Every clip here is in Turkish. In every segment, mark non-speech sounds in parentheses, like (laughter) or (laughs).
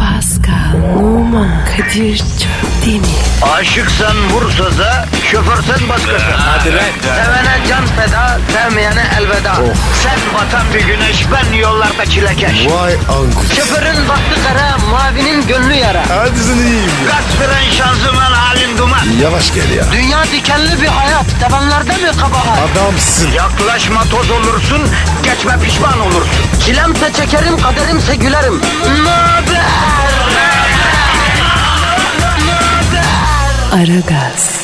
Pascal, Oman, Kadir çok değil mi? Aşıksan vursa da şoförsen başkasın. Hadi lan. Sevene can feda, sevmeyene elveda. Sen batan bir güneş, ben yollarda çilekeş. Vay anku. Şoförün baktı kara, mavinin gönlü yara. Hadi sen iyiyim ya. Kasperen şanzıman halin duman. Yavaş gel ya. Dünya dikenli bir hayat, sevenlerde mi kabahar? Adamsın. Yaklaşma toz olursun, geçme pişman olursun. Çilemse çekerim, kaderimse gülerim. Möber! Aragaz,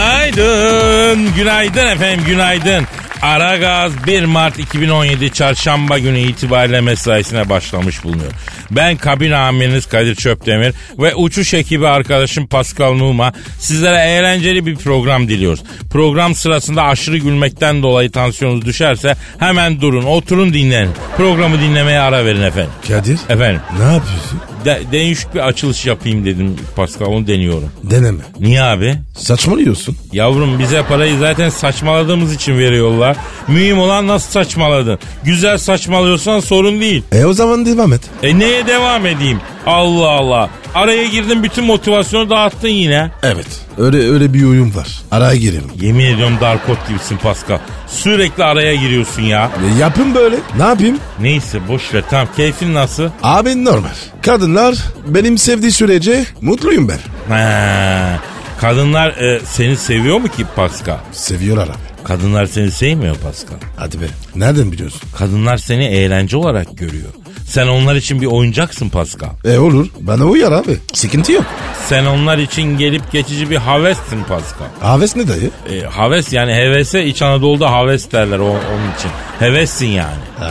Günaydın, günaydın efendim, günaydın. Ara Gaz 1 Mart 2017 Çarşamba günü itibariyle mesaisine başlamış bulunuyor. Ben kabin amiriniz Kadir Çöptemir ve uçuş ekibi arkadaşım Pascal Numa sizlere eğlenceli bir program diliyoruz. Program sırasında aşırı gülmekten dolayı tansiyonunuz düşerse hemen durun, oturun dinlenin. Programı dinlemeye ara verin efendim. Kadir. Efendim, Ne yapıyorsun? de, değişik bir açılış yapayım dedim Pascal, onu deniyorum. Deneme. Niye abi? Saçmalıyorsun. Yavrum bize parayı zaten saçmaladığımız için veriyorlar. Mühim olan nasıl saçmaladın? Güzel saçmalıyorsan sorun değil. E o zaman devam et. E neye devam edeyim? Allah Allah. Araya girdin bütün motivasyonu dağıttın yine. Evet. Öyle öyle bir oyun var. Araya girelim. Yemin ediyorum darkot gibisin Pascal. Sürekli araya giriyorsun ya. E, yapın böyle. Ne yapayım? Neyse boş ver tamam keyfin nasıl? Abi normal. Kadınlar benim sevdiği sürece mutluyum ben. Ha, kadınlar e, seni seviyor mu ki Pascal? Seviyorlar abi. Kadınlar seni sevmiyor Pascal. Hadi be. Nereden biliyorsun? Kadınlar seni eğlence olarak görüyor. Sen onlar için bir oyuncaksın Pascal. E olur. Bana uyar abi. Sıkıntı yok. Sen onlar için gelip geçici bir havessin Pascal. Aves ne dayı? E, haves yani hevese İç Anadolu'da haves derler o- onun için. Hevessin yani. E,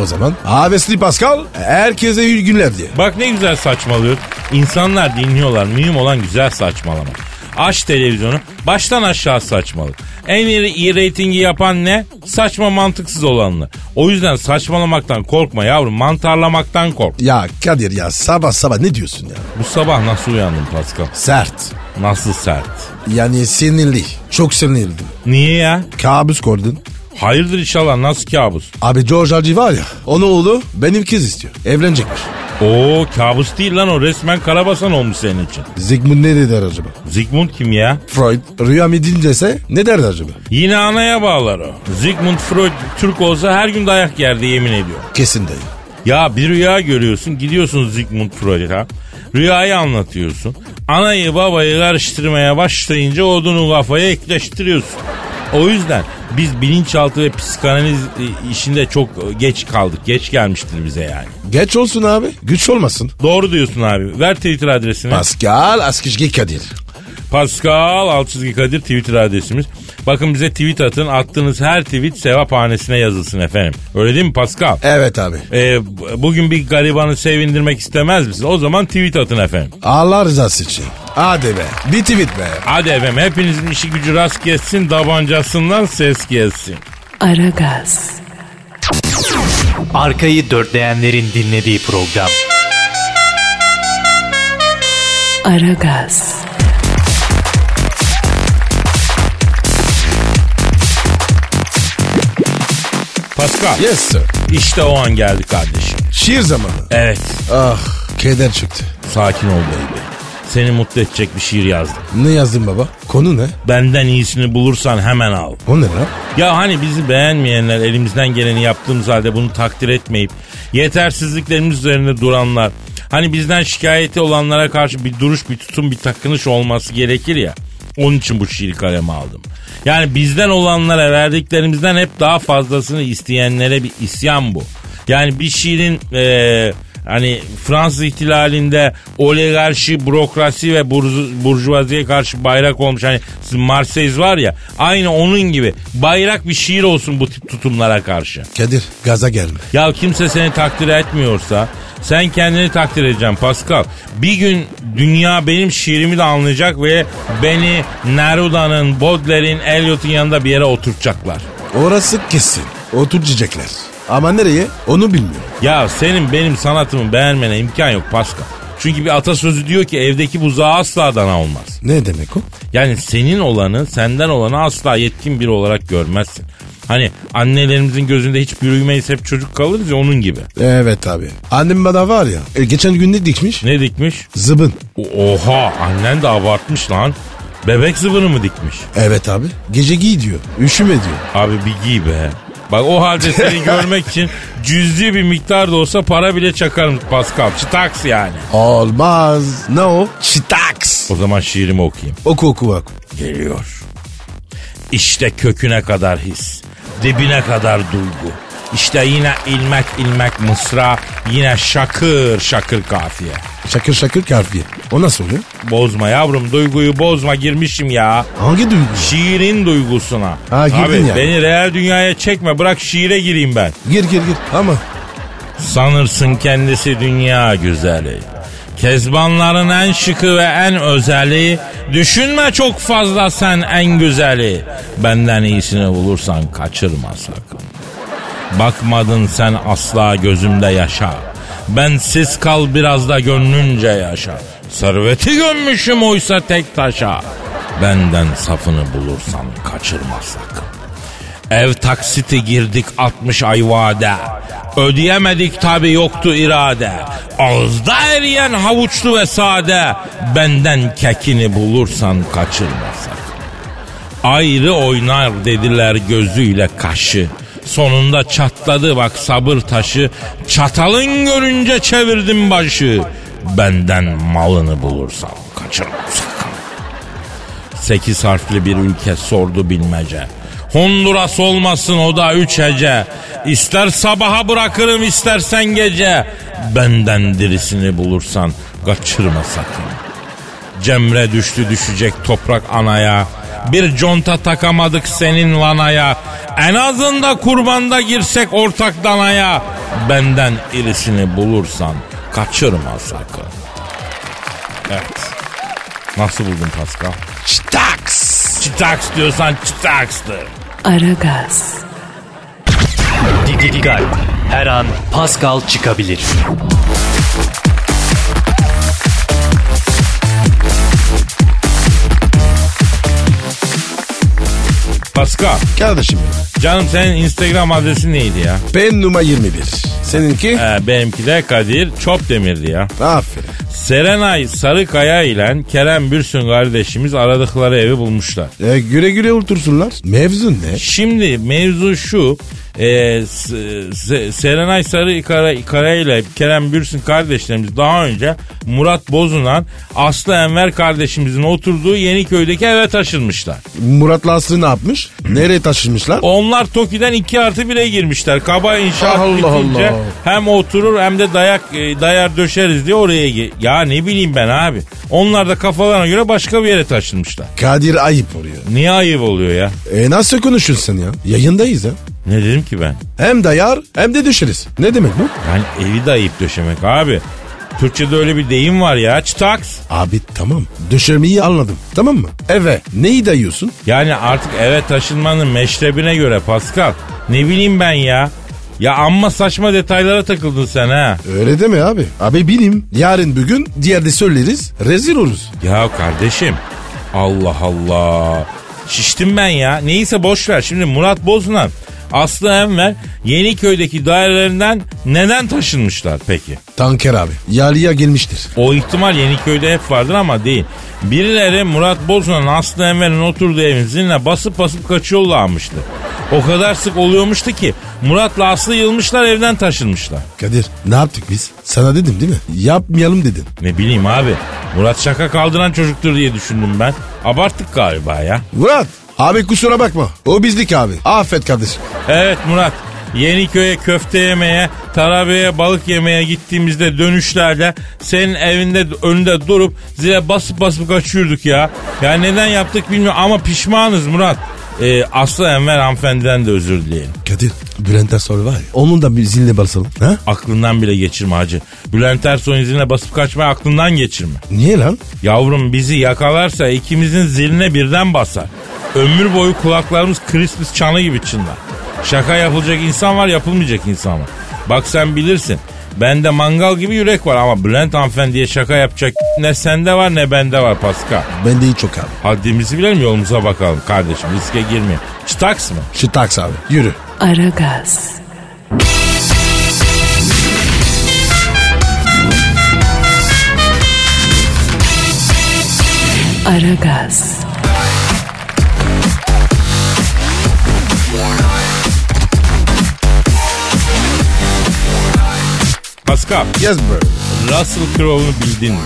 O zaman. Avesli Pascal. Herkese iyi günler diye. Bak ne güzel saçmalıyor. İnsanlar dinliyorlar. Mühim olan güzel saçmalama. Aç televizyonu baştan aşağı saçmalık. En iyi, iyi reytingi yapan ne? Saçma mantıksız olanlar. O yüzden saçmalamaktan korkma yavrum. Mantarlamaktan kork. Ya Kadir ya sabah sabah ne diyorsun ya? Bu sabah nasıl uyandın Pascal? Sert. Nasıl sert? Yani sinirli. Çok sinirliydim. Niye ya? Kabus koydun. Hayırdır inşallah nasıl kabus? Abi George Hardy var ya. Onun oğlu benim kız istiyor. Evlenecekmiş. Oo kabus değil lan o resmen karabasan olmuş senin için. Zygmunt ne der acaba? Zygmunt kim ya? Freud rüya mı dinlese ne der acaba? Yine anaya bağlar o. Sigmund Freud Türk olsa her gün dayak yerdi yemin ediyor. Kesin dayı. Ya bir rüya görüyorsun gidiyorsun Sigmund Freud'a. Rüyayı anlatıyorsun. Anayı babayı karıştırmaya başlayınca odunu kafaya ekleştiriyorsun. O yüzden biz bilinçaltı ve psikanaliz e, işinde çok e, geç kaldık. Geç gelmiştir bize yani. Geç olsun abi. Güç olmasın. Doğru diyorsun abi. Ver Twitter adresini. Pascal Askışki Kadir. Pascal Altçizgi Kadir Twitter adresimiz. Bakın bize tweet atın. Attığınız her tweet sevaphanesine yazılsın efendim. Öyle değil mi Pascal? Evet abi. Ee, b- bugün bir garibanı sevindirmek istemez misin? O zaman tweet atın efendim. Allah rızası için. Hadi be. Bir tweet be. Hadi efendim hepinizin işi gücü rast gelsin, tabancasından ses gelsin. Aragaz, Arkayı dörtleyenlerin dinlediği program. Aragaz, Pascal Yes sir. işte o an geldi kardeşim. Şiir zamanı. Evet Ah keder çıktı. sakin ol baby. Seni mutlu edecek bir şiir yazdım. Ne yazdın baba? Konu ne? Benden iyisini bulursan hemen al. O ne lan? Ya hani bizi beğenmeyenler elimizden geleni yaptığımız halde bunu takdir etmeyip yetersizliklerimiz üzerinde duranlar hani bizden şikayeti olanlara karşı bir duruş bir tutum bir takınış olması gerekir ya. Onun için bu şiiri kaleme aldım. Yani bizden olanlara verdiklerimizden hep daha fazlasını isteyenlere bir isyan bu. Yani bir şiirin eee, hani Fransız ihtilalinde oligarşi, bürokrasi ve burzu- burjuvaziye karşı bayrak olmuş. Hani Marseiz var ya aynı onun gibi bayrak bir şiir olsun bu tip tutumlara karşı. Kadir gaza gelme. Ya kimse seni takdir etmiyorsa sen kendini takdir edeceksin Pascal. Bir gün dünya benim şiirimi de anlayacak ve beni Neruda'nın, Baudelaire'in, Eliot'un yanında bir yere oturtacaklar. Orası kesin. Oturacaklar. Ama nereye? Onu bilmiyorum. Ya senin benim sanatımı beğenmene imkan yok Pascal. Çünkü bir atasözü diyor ki evdeki buzağa asla dana olmaz. Ne demek o? Yani senin olanı senden olanı asla yetkin biri olarak görmezsin. Hani annelerimizin gözünde hiç büyümeyiz hep çocuk kalırız ya onun gibi. Evet abi. Annem bana var ya. e, geçen gün ne dikmiş? Ne dikmiş? Zıbın. O- Oha annen de abartmış lan. Bebek zıvını mı dikmiş? Evet abi. Gece giy diyor. Üşüme diyor. Abi bir giy be. Bak o halde seni görmek için cüzi bir miktar da olsa para bile çakarım Pascal. Çıtaks yani. Olmaz. Ne o? Çitaks. O zaman şiirimi okuyayım. Oku oku oku. Geliyor. İşte köküne kadar his. Dibine kadar duygu. İşte yine ilmek ilmek mısra. Yine şakır şakır kafiye. Şakır şakır karfiye. O nasıl oluyor? Bozma yavrum duyguyu bozma girmişim ya. Hangi duygu? Şiirin duygusuna. Ha, girdin Abi yani. beni real dünyaya çekme bırak şiire gireyim ben. Gir gir gir. Ama Sanırsın kendisi dünya güzeli. Kezbanların en şıkı ve en özeli. Düşünme çok fazla sen en güzeli. Benden iyisini bulursan kaçırma sakın. Bakmadın sen asla gözümde yaşa. Bensiz kal biraz da gönlünce yaşa. Serveti gömmüşüm oysa tek taşa. Benden safını bulursan kaçırma sakın. Ev taksiti girdik 60 ay vade. Ödeyemedik tabi yoktu irade. Ağızda eriyen havuçlu ve sade. Benden kekini bulursan kaçırmasak. Ayrı oynar dediler gözüyle kaşı. Sonunda çatladı bak sabır taşı. Çatalın görünce çevirdim başı. Benden malını bulursan kaçırmasak. Sekiz harfli bir ülke sordu bilmece. Honduras olmasın o da üç hece. İster sabaha bırakırım istersen gece. Benden dirisini bulursan kaçırma sakın. Cemre düştü düşecek toprak anaya. Bir conta takamadık senin lanaya. En azında kurbanda girsek ortak danaya. Benden irisini bulursan kaçırma sakın. Evet. Nasıl buldun Pascal? çitaks. Çıtaks diyorsan çıtakstır. Aragaz, Didi Gal. Her an Pascal çıkabilir. Pascal, Kardeşim benim. canım senin Instagram adresin neydi ya? Ben numara 21. Seninki? Ee, benimki de Kadir Çopdemir'di ya. Aferin. Serenay Sarıkaya ile Kerem Bürsün kardeşimiz aradıkları evi bulmuşlar. E, güle güle otursunlar. Mevzun ne? Şimdi mevzu şu. E, S- S- Serenay Sarıkaya ile Kerem Bürsün kardeşlerimiz daha önce Murat Bozunan Aslı Enver kardeşimizin oturduğu Yeniköy'deki eve taşınmışlar. Murat'la Aslı ne yapmış? Nereye taşınmışlar? Onlar Toki'den 2 artı 1'e girmişler. Kaba inşaat Allah bitince Allah. hem oturur hem de dayak e, dayar döşeriz diye oraya gi- Ya ne bileyim ben abi. Onlar da kafalarına göre başka bir yere taşınmışlar. Kadir ayıp oluyor. Niye ayıp oluyor ya? E nasıl konuşuyorsun sen ya? Yayındayız ya. Ne dedim ki ben? Hem dayar hem de düşeriz. Ne demek bu? Yani evi de ayıp döşemek abi. Türkçe'de öyle bir deyim var ya çıtaks. Abi tamam. Düşürmeyi anladım. Tamam mı? Eve. Neyi dayıyorsun? Yani artık eve taşınmanın meşrebine göre Pascal. Ne bileyim ben ya. Ya amma saçma detaylara takıldın sen ha. Öyle deme abi. Abi bilim. Yarın bugün diğerde söyleriz. Rezil oluruz. Ya kardeşim Allah Allah. Şiştim ben ya. Neyse boş ver. Şimdi Murat Bozunan Aslı Enver Yeniköy'deki dairelerinden neden taşınmışlar peki? Tanker abi. Yalıya gelmiştir. O ihtimal Yeniköy'de hep vardır ama değil. Birileri Murat Bozunan Aslı Enver'in oturduğu evin ziline basıp basıp kaçıyorlarmıştı. O kadar sık oluyormuştu ki Murat'la Aslı yılmışlar evden taşınmışlar. Kadir ne yaptık biz? Sana dedim değil mi? Yapmayalım dedin. Ne bileyim abi Murat şaka kaldıran çocuktur diye düşündüm ben. Abarttık galiba ya. Murat. Abi kusura bakma. O bizlik abi. Affet kardeşim. Evet Murat. Yeniköy'e köfte yemeye, Tarabya'ya balık yemeye gittiğimizde dönüşlerde senin evinde önünde durup zile basıp basıp kaçıyorduk ya. Ya neden yaptık bilmiyorum ama pişmanız Murat. Ee, Aslı Enver hanımefendiden de özür dileyelim. Kadir Bülent Ersoy var ya. Onun da bir ziline basalım. Ha? Aklından bile geçirme hacı. Bülent Ersoy'un ziline basıp kaçmayı aklından geçirme. Niye lan? Yavrum bizi yakalarsa ikimizin ziline birden basar. Ömür boyu kulaklarımız Christmas çanı gibi çınlar. Şaka yapılacak insan var yapılmayacak insan var. Bak sen bilirsin. Bende mangal gibi yürek var ama Bülent hanımefendiye şaka yapacak ne sende var ne bende var Pascal. Bende hiç yok abi. Haddimizi bilelim yolumuza bakalım kardeşim riske girmeyin. Staks mı? Şu taks abi. Yürü. Aragaz, Aragaz, Pascal, Yes bro. Russell Crowe'u bildin mi?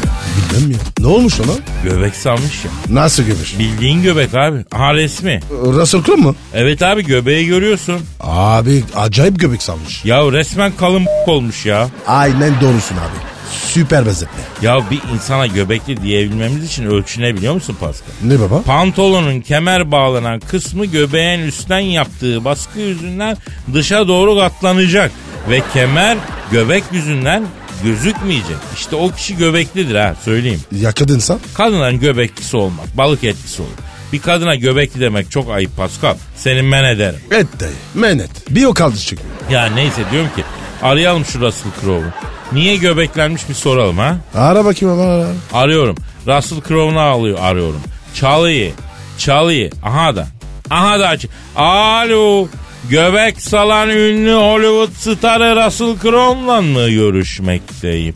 Bilmem ya. Ne olmuş ona? Göbek salmış ya. Nasıl gömüş? Bildiğin göbek abi. Ha resmi. Russell Crowe mu? Evet abi göbeği görüyorsun. Abi acayip göbek salmış. Ya resmen kalın (laughs) olmuş ya. Aynen doğrusun abi. Süper benzetme. Ya bir insana göbekli diyebilmemiz için ölçüne biliyor musun Pascal? Ne baba? Pantolonun kemer bağlanan kısmı göbeğin üstten yaptığı baskı yüzünden dışa doğru katlanacak. Ve kemer göbek yüzünden gözükmeyecek. İşte o kişi göbeklidir ha söyleyeyim. Ya kadınsa? Kadınların göbeklisi olmak, balık etkisi olur. Bir kadına göbekli demek çok ayıp Pascal. Senin men ederim. Et dayı. Menet. Bir o kaldı çıkıyor. Ya neyse diyorum ki arayalım şu Russell Crowe'u. Niye göbeklenmiş bir soralım ha? Ara bakayım ama ara. Arıyorum. Russell Crowe'unu alıyor, arıyorum. Çalıyı. Çalıyı. Aha da. Aha da aç. Alo. Göbek salan ünlü Hollywood starı Russell Crowe'la mı görüşmekteyim?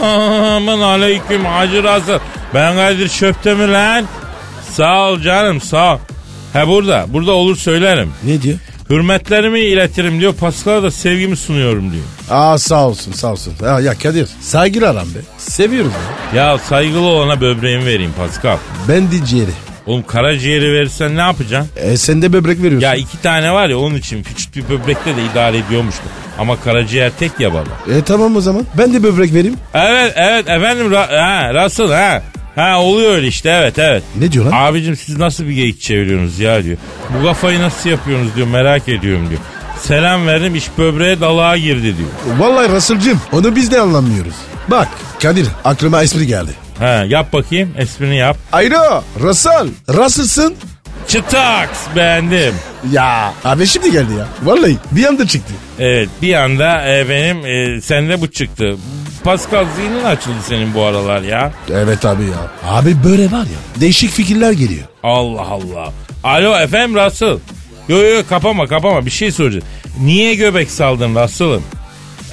Selamun aleyküm Hacı Russell. Ben Kadir Çöptemir lan. Sağ ol canım sağ ol. He burada. Burada olur söylerim. Ne diyor? Hürmetlerimi iletirim diyor. Pascal'a da sevgimi sunuyorum diyor. Aa sağ olsun sağ olsun. Ya, ya Kadir saygılar aram be. Seviyorum ya. Ya saygılı olana böbreğimi vereyim Pascal. Ben de ciğeri. Oğlum karaciğeri verirsen ne yapacaksın? E, sen de böbrek veriyorsun. Ya iki tane var ya onun için küçük bir böbrekle de idare ediyormuştu. Ama karaciğer tek ya baba. E tamam o zaman. Ben de böbrek vereyim. Evet evet efendim Ra- ha, Russell ha. Ha oluyor öyle işte evet evet. Ne diyor lan? Abicim siz nasıl bir geyik çeviriyorsunuz ya diyor. Bu kafayı nasıl yapıyorsunuz diyor merak ediyorum diyor. Selam verdim iş böbreğe dalağa girdi diyor. Vallahi Russell'cığım onu biz de anlamıyoruz. Bak Kadir aklıma espri geldi. Ha yap bakayım esprini yap. Ayro Russell. Russell'sın. Çıtaks beğendim. Ya abi şimdi geldi ya. Vallahi bir anda çıktı. Evet bir anda e, benim e, sende bu çıktı. Pascal zihnin açıldı senin bu aralar ya. Evet abi ya. Abi böyle var ya değişik fikirler geliyor. Allah Allah. Alo efendim Russell. Yo yo yo, kapama kapama bir şey soracağım. Niye göbek saldın Russell'ım?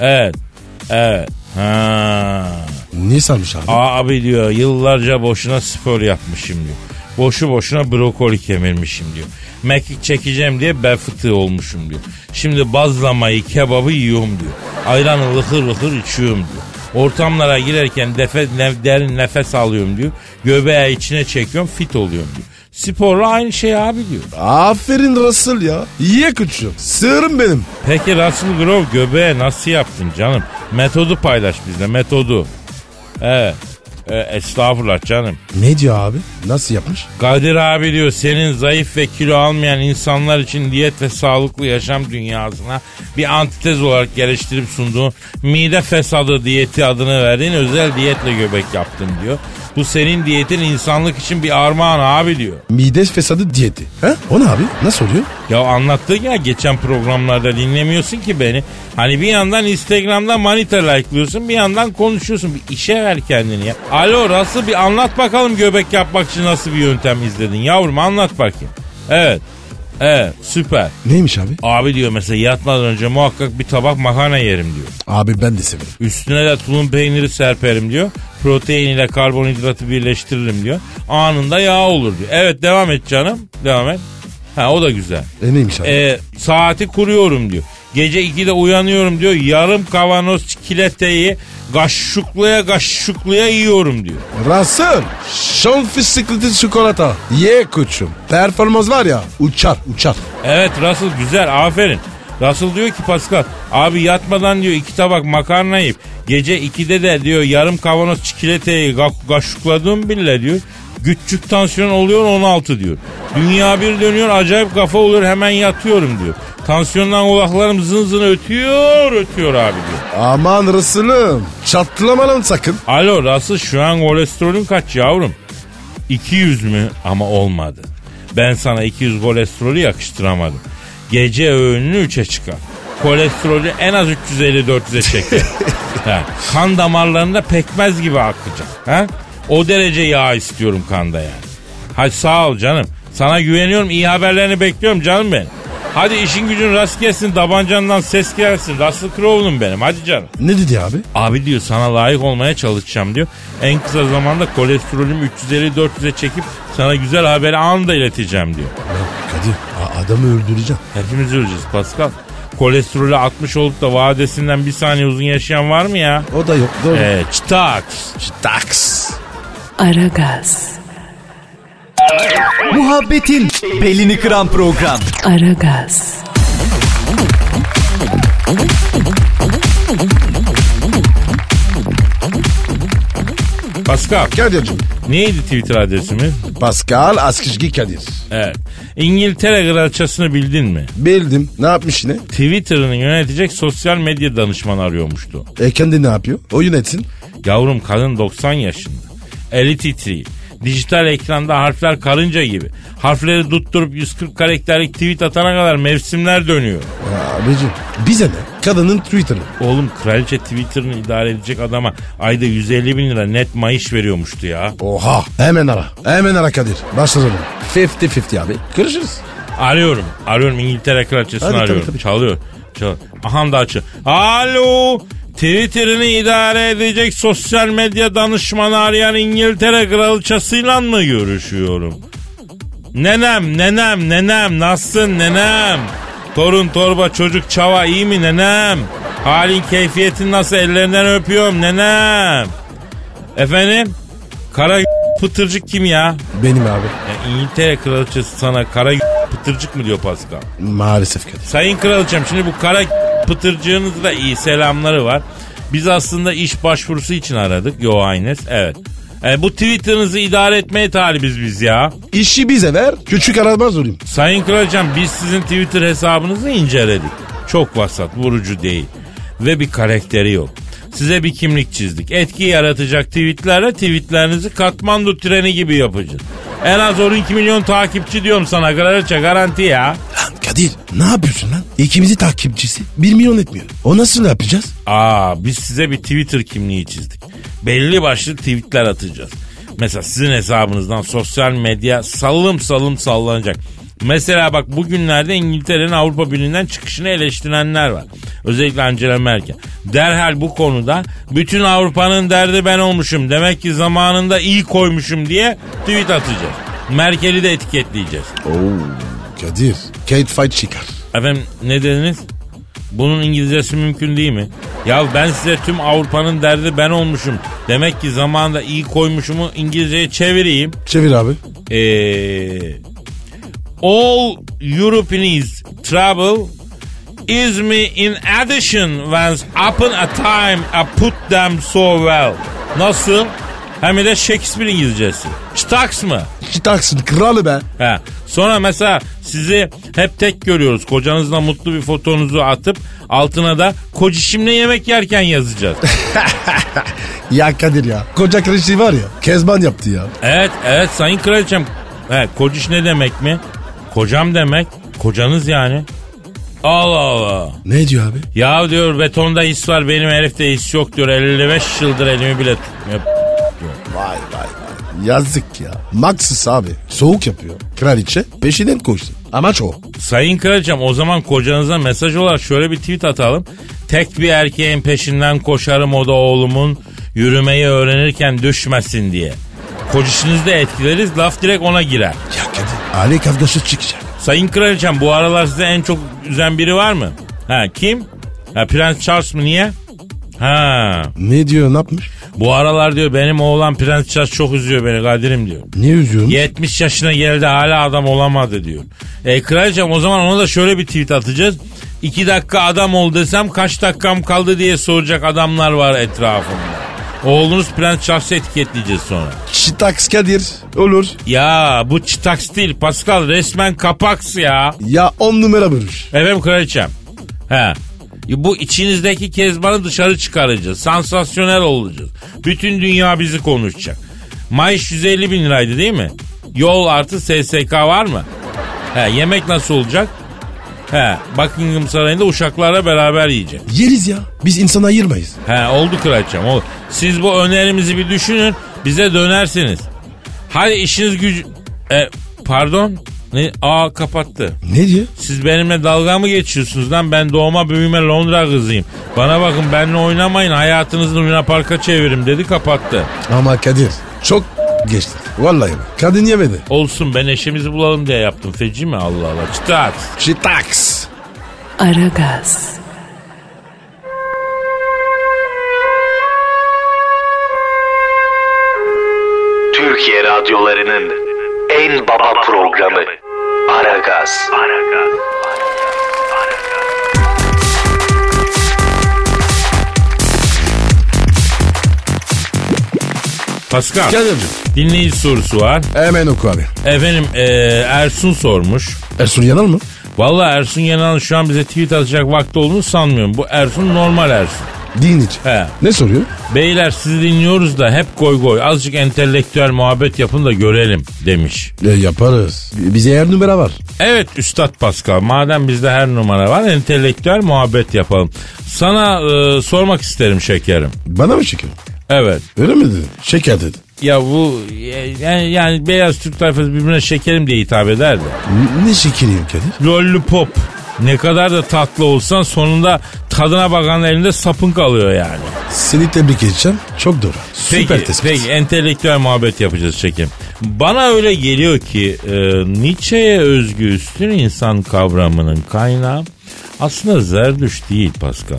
Evet. Evet. Ha. Ne sanmış abi? Abi diyor yıllarca boşuna spor yapmışım diyor. Boşu boşuna brokoli kemirmişim diyor. Mekik çekeceğim diye bel fıtığı olmuşum diyor. Şimdi bazlamayı kebabı yiyorum diyor. Ayranı lıhır lıhır içiyorum diyor. Ortamlara girerken defe, nef- derin nefes alıyorum diyor. Göbeğe içine çekiyorum fit oluyorum diyor. Sporla aynı şey abi diyor. Aferin Russell ya. Ye kuçum. Sığırım benim. Peki Russell Grove göbeğe nasıl yaptın canım? Metodu paylaş bizle metodu. Evet. E, estağfurullah canım. Ne diyor abi? Nasıl yapmış? Kadir abi diyor senin zayıf ve kilo almayan insanlar için diyet ve sağlıklı yaşam dünyasına bir antitez olarak geliştirip sunduğun mide fesadı diyeti adını verdiğin özel diyetle göbek yaptım diyor. Bu senin diyetin insanlık için bir armağan abi diyor. Mide fesadı diyeti. He? O ne abi? Nasıl oluyor? Ya anlattın ya geçen programlarda dinlemiyorsun ki beni. Hani bir yandan Instagram'da manita like'lıyorsun bir yandan konuşuyorsun. Bir işe ver kendini ya. Alo Russell bir anlat bakalım göbek yapmak için nasıl bir yöntem izledin yavrum anlat bakayım. Evet. Evet süper. Neymiş abi? Abi diyor mesela yatmadan önce muhakkak bir tabak makarna yerim diyor. Abi ben de severim. Üstüne de tulum peyniri serperim diyor. Protein ile karbonhidratı birleştiririm diyor. Anında yağ olur diyor. Evet devam et canım. Devam et. Ha o da güzel. E neymiş abi? E, saati kuruyorum diyor. Gece 2'de uyanıyorum diyor. Yarım kavanoz çikolateyi gaşşuklaya gaşşuklaya yiyorum diyor. Russell. Şon fıstıklı çikolata. Ye kuçum. Performans var ya uçar uçar. Evet Russell güzel aferin. Russell diyor ki Pascal abi yatmadan diyor iki tabak makarna yiyip gece 2'de de diyor yarım kavanoz çikolateyi ga- gaşukladım bile diyor. Güççük tansiyon oluyor 16 diyor. Dünya bir dönüyor acayip kafa oluyor hemen yatıyorum diyor. Tansiyondan kulaklarım zın zın ötüyor ötüyor abi diyor. Aman Russell'ım. Çatlama lan sakın. Alo Russell şu an kolesterolün kaç yavrum? 200 mü? Ama olmadı. Ben sana 200 kolesterolü yakıştıramadım. Gece öğününü 3'e çıkar. kolesterolü en az 350-400'e çeker. Ha, kan damarlarında pekmez gibi akacak. Ha? O derece yağ istiyorum kanda yani. Hadi sağ ol canım. Sana güveniyorum. iyi haberlerini bekliyorum canım benim. Hadi işin gücün rast gelsin. Dabancandan ses gelsin. Russell Crowe'num benim. Hadi canım. Ne dedi abi? Abi diyor sana layık olmaya çalışacağım diyor. En kısa zamanda kolesterolüm 350-400'e çekip sana güzel haberi anında ileteceğim diyor. Kadir a- adamı öldüreceğim. Hepimiz öleceğiz Pascal. Kolesterolü 60 olup da vadesinden bir saniye uzun yaşayan var mı ya? O da yok. Doğru. Ee, çıtaks. Taks. Aragaz, Muhabbetin belini kıran program. Aragaz, Pascal Kadir'cim. neydi Twitter adresimiz? Pascal Askışgi Kadir. Evet. İngiltere kraliçesini bildin mi? Bildim. Ne yapmış yine? Twitter'ını yönetecek sosyal medya danışmanı arıyormuştu. E kendi ne yapıyor? O yönetsin. Yavrum kadın 90 yaşında. Eli titriyor. Dijital ekranda harfler karınca gibi. Harfleri tutturup 140 karakterlik tweet atana kadar mevsimler dönüyor. Ya abicim bize ne? Kadının Twitter'ı. Oğlum kraliçe Twitter'ını idare edecek adama ayda 150 bin lira net maaş veriyormuştu ya. Oha. Hemen ara. Hemen ara Kadir. Başlayalım. 50-50 abi. Kırışırız. Arıyorum. Arıyorum İngiltere kraliçesini Hadi tabii, arıyorum. tabii. Çalıyor. Çalıyor. Aha da açı. Alo. Twitter'ını idare edecek sosyal medya danışmanı arayan İngiltere kraliçesiyle mı görüşüyorum? Nenem, nenem, nenem, nasılsın nenem? Torun torba çocuk çava iyi mi nenem? Halin keyfiyetin nasıl ellerinden öpüyorum nenem. Efendim? Kara (laughs) pıtırcık kim ya? Benim abi. Ya İngiltere kraliçesi sana kara pıtırcık mı diyor Pascal? Maalesef Kadir. Sayın kraliçem şimdi bu kara pıtırcığınızda da iyi selamları var. Biz aslında iş başvurusu için aradık. Yo Aynes evet. E, bu Twitter'ınızı idare etmeye talibiz biz ya. İşi bize ver. Küçük aramaz olayım. Sayın Kraliçem biz sizin Twitter hesabınızı inceledik. Çok vasat, vurucu değil. Ve bir karakteri yok. Size bir kimlik çizdik. Etki yaratacak tweetlerle tweetlerinizi Katmandu treni gibi yapacağız. En az 12 milyon takipçi diyorum sana kraliçe garanti ya. Lan Kadir ne yapıyorsun lan? İkimizi takipçisi 1 milyon etmiyor. O nasıl yapacağız? Aa biz size bir Twitter kimliği çizdik. Belli başlı tweetler atacağız. Mesela sizin hesabınızdan sosyal medya sallım sallım sallanacak. Mesela bak bugünlerde İngiltere'nin Avrupa Birliği'nden çıkışını eleştirenler var. Özellikle Angela Merkel. Derhal bu konuda bütün Avrupa'nın derdi ben olmuşum. Demek ki zamanında iyi koymuşum diye tweet atacağız. Merkel'i de etiketleyeceğiz. Kadir. Kate Fight çıkar. Efendim ne dediniz? Bunun İngilizcesi mümkün değil mi? Ya ben size tüm Avrupa'nın derdi ben olmuşum. Demek ki zamanında iyi koymuşumu İngilizceye çevireyim. Çevir abi. Ee, all Europeans trouble is me in addition once upon a time I put them so well. Nasıl? Hem de Shakespeare İngilizcesi. Staks mı? Çıtaksın kralı be. He. Sonra mesela sizi hep tek görüyoruz. Kocanızla mutlu bir fotonuzu atıp altına da kocişimle yemek yerken yazacağız. Ya Kadir ya. Koca kraliçeyi var ya. Kezban yaptı ya. evet evet sayın kraliçem. He, kociş ne demek mi? Kocam demek. Kocanız yani. Allah Allah. Ne diyor abi? Ya diyor betonda his var benim herifte his yok diyor. 55 yıldır elimi bile tutmuyor. Vay vay vay. Yazık ya. Maxis abi. Soğuk yapıyor. Kraliçe peşinden koştu. Amaç o. Sayın Kraliçem o zaman kocanıza mesaj olarak şöyle bir tweet atalım. Tek bir erkeğin peşinden koşarım o da oğlumun yürümeyi öğrenirken düşmesin diye. Kocişinizi de etkileriz laf direkt ona girer. Ya Kadir. Aile kavgası çıkacak. Sayın Kraliçem bu aralar size en çok üzen biri var mı? Ha kim? Ha Prens Charles mı niye? Ha Ne diyor ne yapmış? bu aralar diyor benim oğlan Prens Charles çok üzüyor beni Kadir'im diyor. Niye üzüyorum? 70 yaşına geldi hala adam olamadı diyor. E kraliçem o zaman ona da şöyle bir tweet atacağız. 2 dakika adam ol desem kaç dakikam kaldı diye soracak adamlar var etrafımda. Oğlunuz Prens Charles'ı etiketleyeceğiz sonra. Çıtaks Kadir. Olur. Ya bu çıtaks değil Pascal resmen kapaks ya. Ya on numara bölür. Efendim kraliçem. He. Bu içinizdeki kezbanı dışarı çıkaracağız. Sansasyonel olacağız. Bütün dünya bizi konuşacak. Mayış 150 bin liraydı değil mi? Yol artı SSK var mı? He, yemek nasıl olacak? He, Buckingham Sarayı'nda uşaklarla beraber yiyeceğim. Yeriz ya. Biz insan ayırmayız. He, oldu kraliçem oldu. Siz bu önerimizi bir düşünün bize dönersiniz. Hadi işiniz gücü... E, pardon? Ne? Aa kapattı. Ne diyor? Siz benimle dalga mı geçiyorsunuz lan? Ben doğma büyüme Londra kızıyım. Bana bakın benimle oynamayın hayatınızı Luna Park'a çevirim dedi kapattı. Ama Kadir çok geçti. Vallahi bak. Kadın yemedi. Olsun ben eşimizi bulalım diye yaptım feci mi Allah Allah çıtlat. Çitaks. Aragaz, Türkiye radyolarının en baba programı Aragaz. Pascal Kadir'cim dinleyici sorusu var. hemen oku abi. Efendim e, Ersun sormuş. Ersun Yanal mı? Valla Ersun Yanal şu an bize tweet atacak vakti olduğunu sanmıyorum. Bu Ersun normal Ersun. Din için. He. Ne soruyor? Beyler sizi dinliyoruz da hep koy koy azıcık entelektüel muhabbet yapın da görelim demiş. E, yaparız. Bize her numara var. Evet Üstad Pascal madem bizde her numara var entelektüel muhabbet yapalım. Sana e, sormak isterim şekerim. Bana mı şeker? Evet. Öyle mi dedin? Şeker dedin. Ya bu e, yani, yani beyaz Türk tayfası birbirine şekerim diye hitap ederdi. N- ne şekeriyim Kadir? Lollipop. Ne kadar da tatlı olsan sonunda tadına bakan elinde sapın kalıyor yani. Seni tebrik edeceğim. Çok doğru. Süper peki, tespit. peki entelektüel muhabbet yapacağız şekerim. Bana öyle geliyor ki e, Nietzsche'ye özgü üstün insan kavramının kaynağı aslında Zerdüş değil Pascal.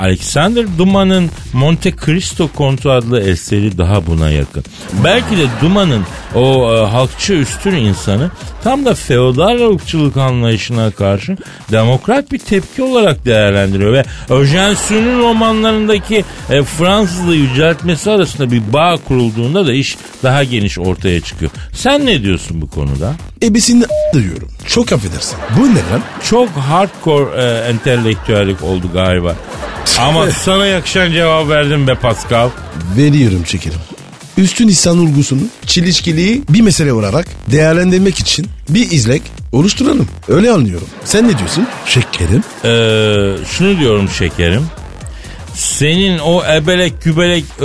Alexander Duman'ın Monte Cristo Kontu adlı eseri daha buna yakın. Belki de Duman'ın o e, halkçı üstün insanı tam da feodal ırkçılık anlayışına karşı demokrat bir tepki olarak değerlendiriyor ve Öjen Sünün romanlarındaki e, Fransızlığı yüceltmesi arasında bir bağ kurulduğunda da iş daha geniş ortaya çıkıyor. Sen ne diyorsun bu konuda? Ebesini diyorum. Çok affedersin. Bu ne lan? Çok hardcore e, entelektüellik oldu galiba. Ama sana yakışan cevap verdim be Pascal. Veriyorum şekerim. Üstün insan olgusunu, çelişkiliği bir mesele olarak değerlendirmek için bir izlek oluşturalım. Öyle anlıyorum. Sen ne diyorsun? Şekerim. Ee, şunu diyorum şekerim. Senin o ebelek gübelek e,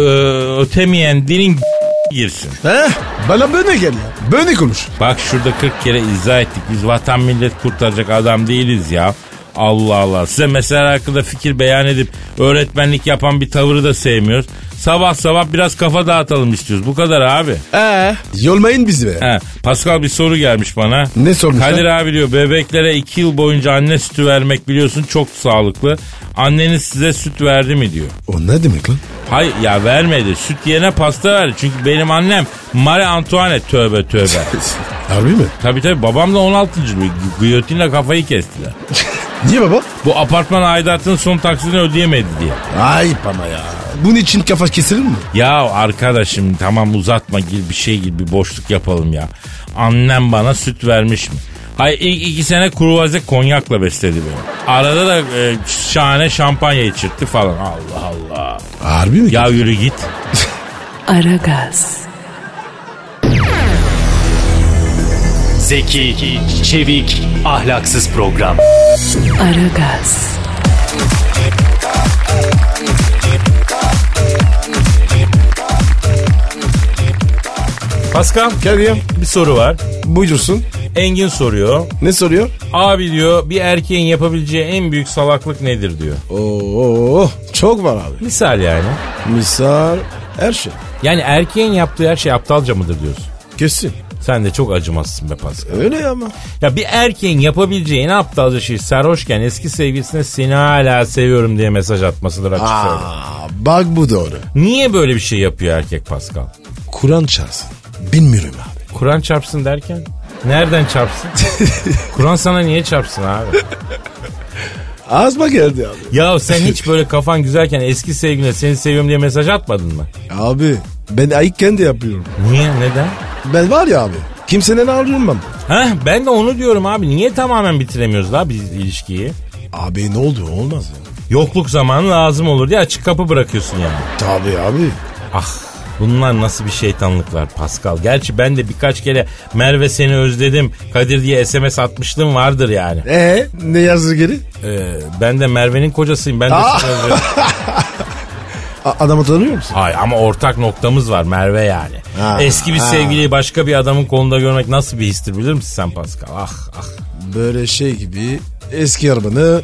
ötemeyen dilin (laughs) girsin. Heh, bana böyle gel ya. Böyle konuş. Bak şurada 40 kere izah ettik. Biz vatan millet kurtaracak adam değiliz ya. Allah Allah. Size mesele hakkında fikir beyan edip öğretmenlik yapan bir tavırı da sevmiyoruz. Sabah sabah biraz kafa dağıtalım istiyoruz. Bu kadar abi. Ee, yolmayın bizi be. He, Pascal bir soru gelmiş bana. Ne sormuşlar? Kadir abi diyor bebeklere 2 yıl boyunca anne sütü vermek biliyorsun çok sağlıklı. Anneniz size süt verdi mi diyor. O ne demek lan? Hayır ya vermedi. Süt yerine pasta verdi. Çünkü benim annem Marie Antoinette tövbe (laughs) tövbe. Harbi mi? Tabii tabii babam da 16. bir Giyotinle kafayı kestiler. Niye baba? Bu apartman aidatının son taksitini ödeyemedi diye. Ayıp ama ya. Bunun için kafa kesilir mi? Ya arkadaşım tamam uzatma gir bir şey gibi bir boşluk yapalım ya. Annem bana süt vermiş mi? Hayır ilk iki sene kruvaze konyakla besledi beni. Arada da e, şahane şampanya içirtti falan. Allah Allah. Harbi mi? Ya yürü git. Aragaz, Zeki, çevik, ahlaksız program. Aragaz, Pascal Kadir bir soru var. buyursun. Engin soruyor. Ne soruyor? Abi diyor bir erkeğin yapabileceği en büyük salaklık nedir diyor. Oo, çok var abi. Misal yani. Misal her şey. Yani erkeğin yaptığı her şey aptalca mıdır diyorsun. Kesin. Sen de çok acımazsın be Pascal. Öyle ama. Ya bir erkeğin yapabileceği en aptalca şey sarhoşken eski sevgilisine seni hala seviyorum diye mesaj atmasıdır açık söyleyeyim. Aa, bak bu doğru. Niye böyle bir şey yapıyor erkek Pascal? Kur'an çalsın. Bilmiyorum abi. Kur'an çarpsın derken? Nereden çarpsın? Kur'an sana niye çarpsın abi? Ağzıma geldi abi. Ya sen hiç böyle kafan güzelken eski sevgiline seni seviyorum diye mesaj atmadın mı? Abi ben ayıkken de yapıyorum. Niye? Neden? Ben var ya abi. Kimsenin ağrıyorum Heh, ben de onu diyorum abi. Niye tamamen bitiremiyoruz la biz ilişkiyi? Abi ne oldu olmaz ya. Yokluk zamanı lazım olur diye açık kapı bırakıyorsun yani. Tabii abi. Ah Bunlar nasıl bir şeytanlıklar Pascal? Gerçi ben de birkaç kere Merve seni özledim Kadir diye SMS atmışlığım vardır yani. Ee ne yazdı geri? Ee, ben de Merve'nin kocasıyım. Ben de Ah! seni özledim. A- adamı tanıyor musun? Hayır ama ortak noktamız var Merve yani. Ha, Eski bir ha. sevgiliyi başka bir adamın kolunda görmek nasıl bir histir bilir misin sen Pascal? Ah ah. Böyle şey gibi eski arabanı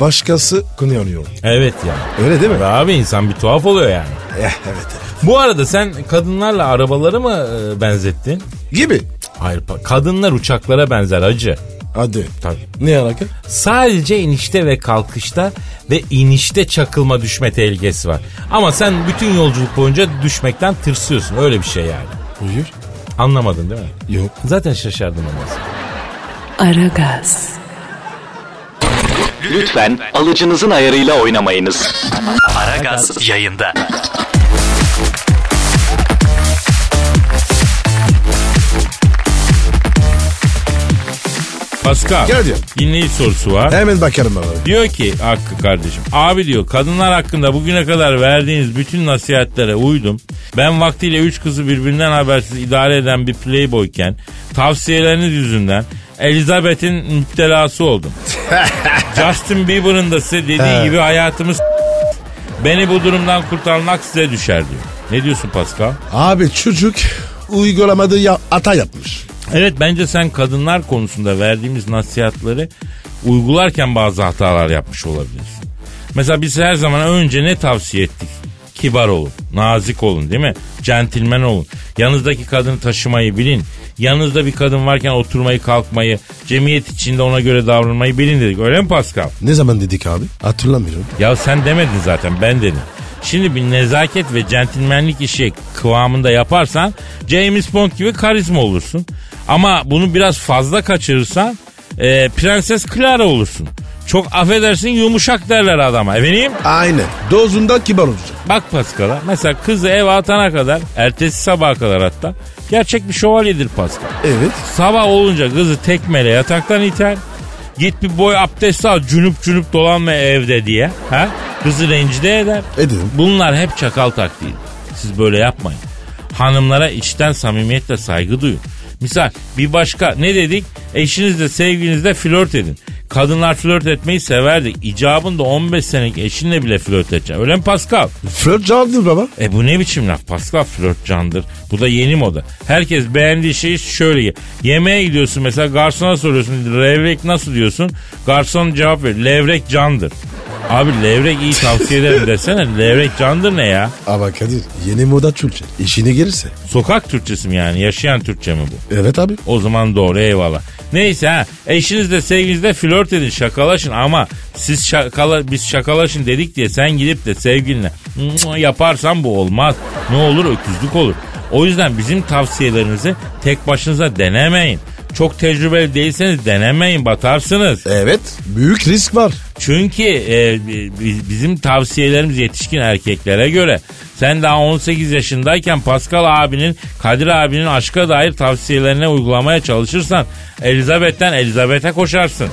başkası kullanıyor. Evet ya. Öyle değil mi? Ve Abi insan bir tuhaf oluyor yani. Eh, evet. Bu arada sen kadınlarla arabaları mı e, benzettin? Gibi. Hayır pa- kadınlar uçaklara benzer acı. Hadi. Tabii. Ne alaka? Sadece inişte ve kalkışta ve inişte çakılma düşme tehlikesi var. Ama sen bütün yolculuk boyunca düşmekten tırsıyorsun öyle bir şey yani. Buyur. Anlamadın değil mi? Yok. Zaten şaşardım ama. Aragaz, Lütfen alıcınızın ayarıyla oynamayınız. Aragaz yayında. Pascal. Gel diyor. Dinleyici sorusu var. Hemen bakarım ben abi. Diyor ki Hakkı kardeşim abi diyor kadınlar hakkında bugüne kadar verdiğiniz bütün nasihatlere uydum. Ben vaktiyle üç kızı birbirinden habersiz idare eden bir playboyken tavsiyeleriniz yüzünden Elizabeth'in müptelası oldum. Justin Bieber'ın da size dediği gibi hayatımız (laughs) beni bu durumdan kurtarmak size düşer diyor. Ne diyorsun Pascal? Abi çocuk uygulamada ya hata yapmış. Evet bence sen kadınlar konusunda verdiğimiz nasihatleri uygularken bazı hatalar yapmış olabilirsin. Mesela biz her zaman önce ne tavsiye ettik? Kibar olun, nazik olun değil mi? Centilmen olun. Yanınızdaki kadını taşımayı bilin. Yanınızda bir kadın varken oturmayı kalkmayı, cemiyet içinde ona göre davranmayı bilin dedik. Öyle mi Pascal? Ne zaman dedik abi? Hatırlamıyorum. Ya sen demedin zaten ben dedim. Şimdi bir nezaket ve centilmenlik işi kıvamında yaparsan James Bond gibi karizma olursun. Ama bunu biraz fazla kaçırırsan e, Prenses Clara olursun. Çok affedersin yumuşak derler adama. Efendim? Aynen. Dozunda kibar olacak. Bak Pascal'a mesela kızı eve atana kadar ertesi sabaha kadar hatta gerçek bir şövalyedir Pascal. Evet. Sabah olunca kızı tekmeyle yataktan iter. Git bir boy abdest al cünüp cünüp dolanma evde diye. Ha? Kızı rencide eder. Ederim. Bunlar hep çakal taktiği. Siz böyle yapmayın. Hanımlara içten samimiyetle saygı duyun. Misal bir başka ne dedik? Eşinizle sevgilinizle flört edin. Kadınlar flört etmeyi severdi. İcabında 15 senelik eşinle bile flört edecek. Öyle mi Pascal? Flört cevaptır baba. E bu ne biçim laf Pascal flört candır. Bu da yeni moda. Herkes beğendiği şeyi şöyle ye. Yemeğe gidiyorsun mesela garsona soruyorsun. Levrek nasıl diyorsun? Garson cevap veriyor. Levrek candır. Abi levrek iyi tavsiye ederim desene. Levrek candır ne ya? Ama Kadir yeni moda Türkçe. İşine gelirse. Sokak Türkçesi mi yani? Yaşayan Türkçe mi bu? Evet abi. O zaman doğru eyvallah. Neyse ha eşinizle sevgilinizle flört edin şakalaşın ama siz şakala biz şakalaşın dedik diye sen gidip de sevgiline "Mua" yaparsan bu olmaz. Ne olur öküzlük olur. O yüzden bizim tavsiyelerinizi tek başınıza denemeyin. Çok tecrübeli değilseniz denemeyin batarsınız. Evet. Büyük risk var. Çünkü e, bi- bizim tavsiyelerimiz yetişkin erkeklere göre. Sen daha 18 yaşındayken Pascal abinin, Kadir abinin aşka dair tavsiyelerine uygulamaya çalışırsan Elizabeth'ten Elizabeth'e koşarsın.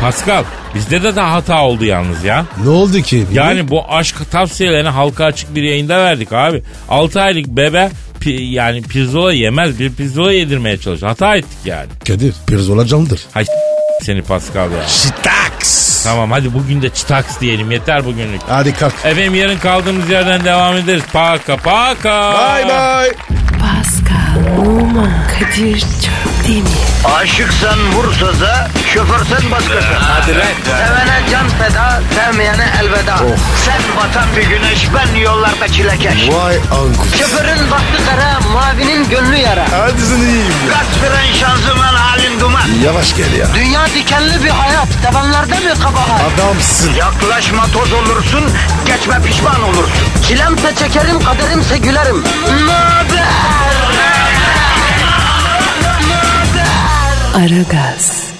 Pascal bizde de daha hata oldu yalnız ya. Ne oldu ki? Yani bu aşk tavsiyelerini halka açık bir yayında verdik abi. 6 aylık bebe pi- yani pirzola yemez bir pirzola yedirmeye çalışır. Hata ettik yani. Kadir pirzola candır. Hay seni Pascal ya. Şitaks. Tamam hadi bugün de çıtaks diyelim yeter bugünlük. Hadi kalk. Efendim yarın kaldığımız yerden devam ederiz. Paka paka. Bye bye. Pascal, Oman, Kadir çok değil mi? Aşıksan vursa da, şoförsen başkasın. Hadi Sevene can feda, sevmeyene elveda. Sen batan bir güneş, ben yollarda çilekeş. Vay anku. Şoförün baktı kara, mavinin gönlü yara. Hadi sen iyiyim ya. Kasperen şanzıman halin duman. Yavaş gel ya. Dünya dikenli bir hayat, sevenlerde mi kabahar? Adamsın. Yaklaşma toz olursun, geçme pişman olursun. Çilemse çekerim, kaderimse gülerim. Möber! Aragaz.